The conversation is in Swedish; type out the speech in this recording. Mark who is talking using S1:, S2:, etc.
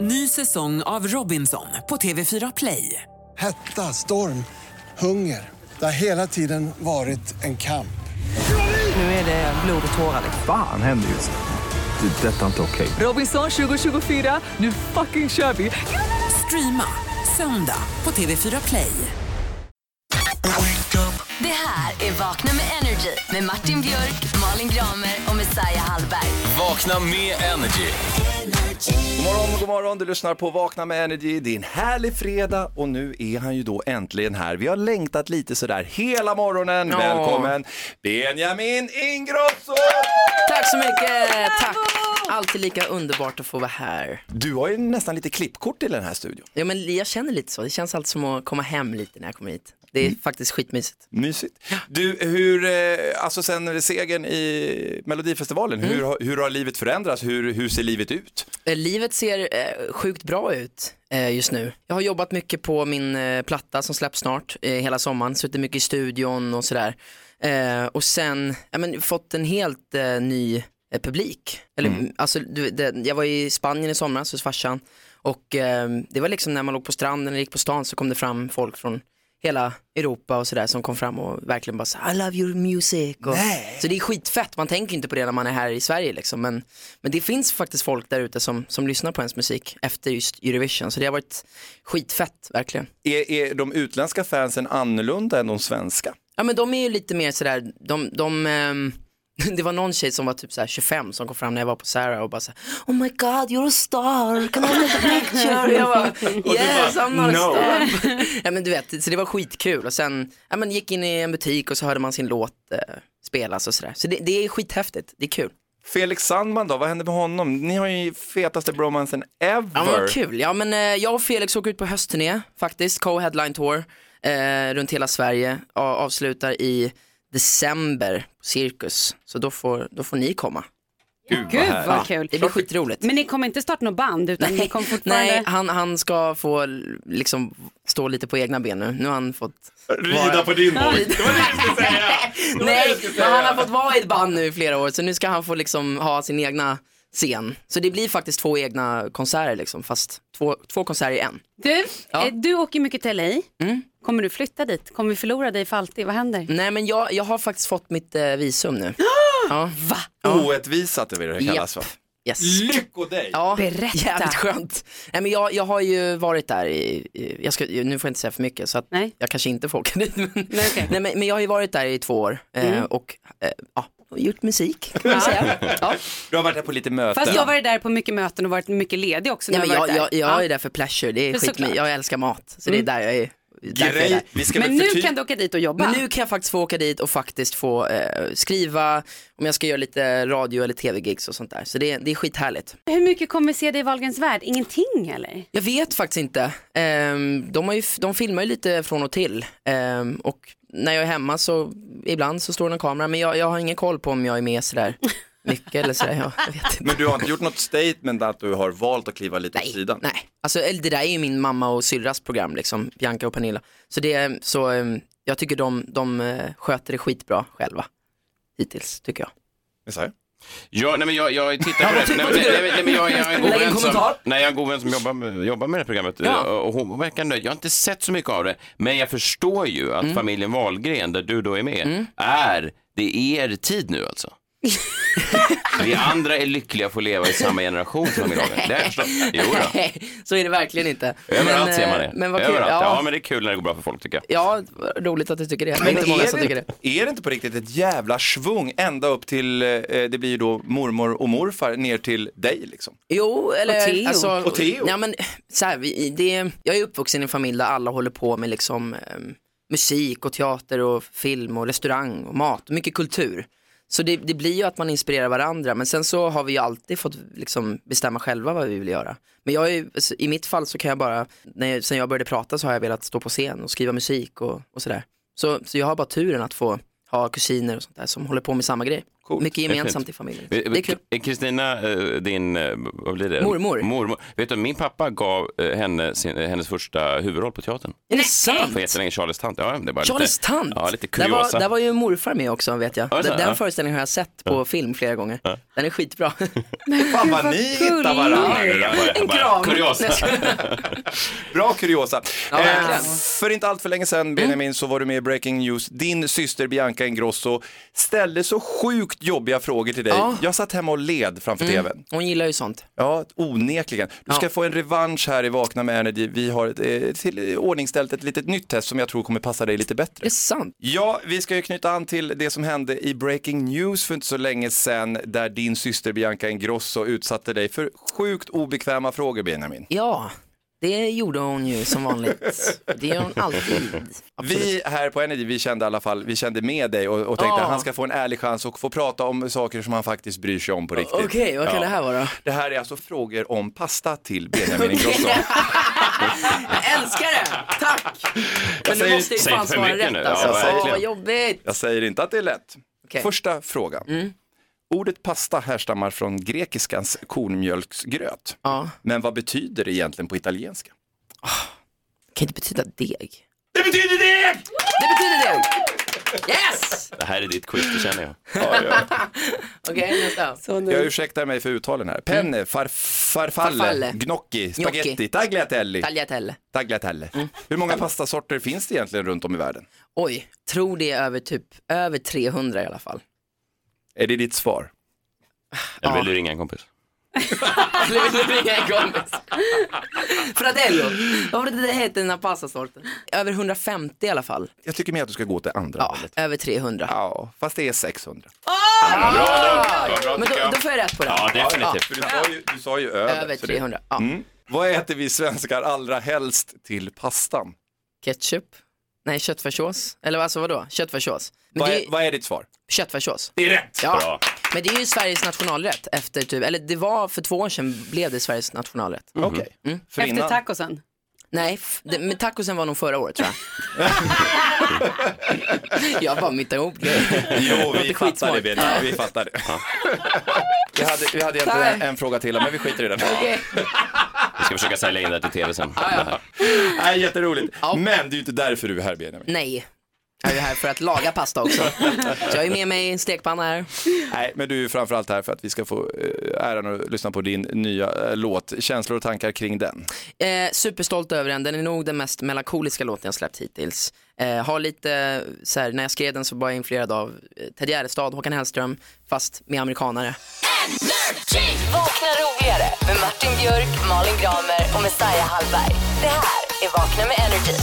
S1: Ny säsong av Robinson på TV4 Play.
S2: Hetta, storm, hunger. Det har hela tiden varit en kamp.
S1: Nu är det blod och tårar. liksom.
S3: Fan händer just nu. Det. är Detta är inte okej.
S1: Robinson 2024, nu fucking kör vi! Streama söndag på TV4 Play.
S4: Det här är Vakna med Energy med Martin Björk, Malin Gramer och Messiah Hallberg.
S5: Vakna med Energy.
S6: God morgon, god morgon. Du lyssnar på Vakna med Energy. Det är en härlig fredag och nu är han ju då äntligen här. Vi har längtat lite sådär hela morgonen. Välkommen Benjamin Ingrosso!
S7: Tack så mycket. Tack. Alltid lika underbart att få vara här.
S6: Du har ju nästan lite klippkort till den här studion.
S7: Ja, men jag känner lite så. Det känns alltid som att komma hem lite när jag kommer hit. Det är faktiskt skitmysigt.
S6: Mysigt. Du, hur, eh, alltså sen segern i Melodifestivalen, hur, har- hur har livet förändrats? Hur, hur ser livet ut?
S7: Eh, Livet ser eh, sjukt bra ut eh, just nu. Jag har jobbat mycket på min eh, platta som släpps snart eh, hela sommaren. Suttit mycket i studion och sådär. Eh, och sen ja, men, fått en helt eh, ny eh, publik. Eller, alltså, du, det, jag var i Spanien i somras hos farsan och eh, det var liksom när man låg på stranden eller gick på stan så kom det fram folk från hela Europa och sådär som kom fram och verkligen bara så I love your music. Och, så det är skitfett, man tänker inte på det när man är här i Sverige liksom. Men, men det finns faktiskt folk där ute som, som lyssnar på ens musik efter just Eurovision. Så det har varit skitfett verkligen.
S6: Är, är de utländska fansen annorlunda än de svenska?
S7: Ja men de är ju lite mer sådär, de, de ehm, det var någon tjej som var typ såhär 25 som kom fram när jag var på Sarah och bara såhär, oh my god you're a star, can I make a picture? Och jag bara, yes I'm not a star. ja men du vet, så det var skitkul och sen, ja men gick in i en butik och så hörde man sin låt eh, spelas och sådär. Så det, det är skithäftigt, det är kul.
S6: Felix Sandman då, vad hände med honom? Ni har ju fetaste bromansen ever.
S7: Ja, men vad kul. Ja, men, eh, jag och Felix åker ut på höstturné faktiskt, co-headline tour eh, runt hela Sverige. A- avslutar i december på Cirkus, så då får, då får ni komma.
S8: Gud
S6: härligt.
S8: vad kul.
S7: Det blir skitroligt.
S8: Men ni kommer inte starta något band utan ni kommer fortfarande...
S7: Nej, han, han ska få l- liksom stå lite på egna ben nu. Nu har han fått...
S6: Rida på din båt. Det var det jag skulle säga.
S7: Nej, men han har fått vara i ett band nu i flera år, så nu ska han få liksom ha sin egna scen. Så det blir faktiskt två egna konserter liksom, fast två, två konserter i en.
S8: Du,
S7: Ja. Mm.
S8: eh, du åker mycket till LA. Kommer du flytta dit? Kommer vi förlora dig för alltid? Vad händer?
S7: Nej men jag, jag har faktiskt fått mitt eh, visum nu. ja. Va?
S6: Orättvisat det vill det kallas va?
S7: Japp. Yes.
S6: Lycko dig!
S7: Ja,
S8: Berätta.
S7: Jävligt skönt. Nej, men jag, jag har ju varit där, i, i- jag ska, nu får jag inte säga för mycket så att
S8: Nej.
S7: jag kanske inte får åka dit. Men,
S8: Nej, okej. Mm.
S7: Nej, men, men jag har ju varit där i två år eh, och eh, ja, och gjort musik kan man säga. Ja.
S6: Du har varit här på lite möten.
S8: Fast jag har varit där på mycket möten och varit mycket ledig också. När
S7: Nej, men
S8: jag, har
S7: jag,
S8: varit
S7: jag,
S8: där.
S7: jag är
S8: Ja.
S7: där för pleasure, det är
S8: För
S7: skit,
S8: såklart. Mm.
S7: jag älskar mat. Så det är där jag är. därför jag är där.
S6: Grej, vi ska
S8: Men
S6: väl
S8: nu
S6: förtyd-
S8: kan du åka dit och jobba.
S7: Men nu kan jag faktiskt få åka dit och faktiskt få eh, skriva om jag ska göra lite radio eller tv-gigs och sånt där. Så det, det är skithärligt.
S8: Hur mycket kommer vi se dig i Wahlgrens värld? Ingenting eller?
S7: Jag vet faktiskt inte. Ehm, de, har ju, de filmar ju lite från och till. Ehm, och när jag är hemma så ibland så står det en kamera. Men jag, jag har ingen koll på om jag är med sådär mycket eller sådär. Jag, jag vet inte.
S6: Men du har inte gjort något statement att du har valt att kliva lite åt sidan?
S7: Nej, alltså eller det där är ju min mamma och syrras program liksom. Bianca och Pernilla. Så, det, så ehm, jag tycker de, de eh, sköter det skitbra själva. Hittills tycker jag.
S6: Vad sa jag?
S9: Ja, nej, men jag, jag tittar på det. Nej, men- nej, men- nej, men jag- jag har en god
S7: Lägg en
S9: vän som-
S7: kommentar.
S9: nej, jag har en god vän som jobbar med, jobbar med det här programmet
S7: Ja.
S9: och hon verkar nöjd. Jag har inte sett så mycket av det, men jag förstår ju
S7: Mm.
S9: att familjen Wahlgren, där du då är med, är, det är er tid nu alltså. Vi andra är lyckliga att få leva i samma generation som familjen Wahlgren. Det har jag förstått. Jo då.
S7: Nej, så är det verkligen inte.
S9: Överallt
S7: Men,
S9: ser man
S7: eh,
S9: det.
S7: Men vad kul.
S9: Överallt. Ja.
S7: Ja,
S9: men det är kul när det går bra för folk tycker jag.
S7: ja, roligt att du tycker det. Det är
S6: Men
S7: inte många
S6: är
S7: som
S6: det-
S7: tycker det.
S6: Är det inte på riktigt ett jävla svung ända upp till, eh, det blir ju då mormor och morfar ner till dig liksom?
S7: Jo, eller
S8: Och Theo.
S7: Alltså,
S6: Och Theo.
S7: Ja, men, så här, vi- det, jag är uppvuxen i en familj där alla håller på med liksom, ehm, musik och teater och film och restaurang och mat och mycket kultur. Så det, det blir ju att man inspirerar varandra men sen så har vi ju alltid fått liksom, bestämma själva vad vi vill göra. Men jag är, ju- alltså, i mitt fall så kan jag bara, när jag, sen jag började prata så har jag velat stå på scen och skriva musik och, och sådär. Så, så jag har bara turen att få ha kusiner och sånt där som håller på med samma grej.
S6: Coolt.
S7: Mycket gemensamt i familjen. Det är kul.
S9: Kristina, eh, din eh, vad blir det?
S7: Mormor.
S9: Mormor. Vet du, min pappa gav eh, henne sin, hennes första huvudroll på teatern.
S7: Är det sant?
S9: För jättelänge Charles Tant. Ja, det var
S7: Charles
S9: lite,
S7: Tant?
S9: Ja, lite
S7: där,
S9: kuriosa.
S7: var, där var ju morfar med också vet jag.
S9: Ja, så,
S7: Den, den
S9: ja.
S7: föreställningen har jag sett på film flera gånger. Den är skitbra.
S6: Fan vad ni hittar
S9: Ja, det
S6: varandra.
S9: där var-
S7: En
S9: bara
S7: kram.
S9: Kuriosa.
S7: Nej, jag skojar.
S6: Bra kuriosa. Eh,
S7: Ja, verkligen. Mm.
S6: för inte allt för länge sedan Benjamin så var du med i Breaking News. Din syster Bianca Ingrosso ställde så sjukt jobbiga frågor till dig.
S7: Ja.
S6: Jag satt hemma och led framför tvn.
S7: Hon gillar ju sånt.
S6: Ja, onekligen. Du ska
S7: Ja.
S6: få en revansch här i Vakna med Energy. Vi har ett, eh, till, ordningställt ett litet nytt test som jag tror kommer passa dig lite bättre.
S7: Det är sant.
S6: Ja, vi ska ju knyta an till det som hände i Breaking News för inte så länge sedan där din syster Bianca Ingrosso utsatte dig för sjukt obekväma frågor Benjamin.
S7: Ja, det gjorde hon ju som vanligt. Det gör hon alltid. Absolut.
S6: Vi här på Energy, vi kände i alla fall, vi kände med dig och, och tänkte
S7: Ja.
S6: att han ska få en ärlig chans och få prata om saker som han faktiskt bryr sig om på riktigt.
S7: Okej, vad kan det här vara?
S6: Det här är alltså frågor om pasta till Benjamin Ingrosso.
S7: Jag älskar det! Tack! Men
S6: säger-
S7: du måste ju
S9: säg
S7: fan
S9: för
S7: svara
S9: mycket
S7: rätt
S9: nu. Ja,
S7: alltså. Åh,
S9: verkligen.
S7: vad jobbigt!
S6: Jag säger inte att det är lätt.
S7: Okej. Mm.
S6: Första frågan. Ordet pasta härstammar från grekiskans kornmjölksgröt.
S7: Ja.
S6: Men vad betyder det egentligen på italienska?
S7: Kan inte betyda deg.
S6: Det betyder det!
S7: Det betyder deg! Yes!
S9: Det här är ditt quiz, det känner jag.
S7: Okej, nästa.
S6: Jag ursäktar mig för uttalen här. Penne, far, farfalle,
S7: Mm. Farfalle.
S6: gnocchi, spaghetti,
S7: Gnocchi. Mm.
S6: tagliatelle.
S7: Tagliatelle.
S6: tagliatelle. Hur många pastasorter finns det egentligen runt om i världen?
S7: Oj, tror det är över typ över 300 i alla fall.
S6: Är det ditt svar?
S9: Eller vill du ringa en kompis?
S7: Eller vill du ringa en kompis? Fratello, vad var det det hette den här pastasorten? Över 150 i alla fall.
S6: Jag tycker mer att du ska gå till andra
S7: Ja,
S6: hållet.
S7: över 300.
S6: Ja, fast det är 600.
S9: Ja, bra, bra, bra, bra,
S7: Men då,
S9: tycker jag.
S7: då får jag rätt på det.
S9: Ja, definitivt.
S6: För du sa ju, du sa ju över.
S7: Över
S6: så det-
S7: 300. Ja.
S6: Vad äter vi svenskar allra helst till pastan?
S7: Ketchup. Nej, köttfärssås. Eller alltså vadå? Köttfärssås. Men
S6: Vad
S7: det
S6: är,
S7: är, ju-
S6: vad är ditt svar?
S7: köttfärssås.
S6: Det är rätt!
S7: Ja.
S9: Bra.
S7: Men det är ju Sveriges nationalrätt efter typ, eller det var för två år sedan blev det Sveriges nationalrätt.
S6: Okej. Mhm.
S7: Mm.
S6: För
S8: Efter
S6: innan-
S8: tacosen.
S7: Nej, f- det, men tacosen var nog förra året tror jag. jag bara mittar ihop grejer.
S6: Jo, vi
S7: Låter
S6: fattar det
S7: skitsmart.
S6: Benjamin. Vi fattar det. Vi hade, vi hade egentligen en, en fråga till, men vi skiter i den.
S9: Vi ska försöka sälja in det till tv sen. Det här.
S6: Nej, jätteroligt. Men det är ju inte därför du är här Benjamin.
S7: Nej, jag är ju här för att laga pasta också. Så jag är med mig en stekpanna här.
S6: Nej, men du är ju framförallt här för att vi ska få eh, äran att lyssna på din nya eh, låt. Känslor och tankar kring den.
S7: Eh, superstolt över den, den är nog den mest melankoliska låten jag släppt hittills. Eh, har lite, eh, så här, när jag skrev den så var jag influerad av eh, Ted Gärdestad, Håkan Hellström, fast med amerikanare.
S4: Vakna roligare med Martin Björk, Malin Gramer och Messiah Hallberg. Det här är Vakna med Energy.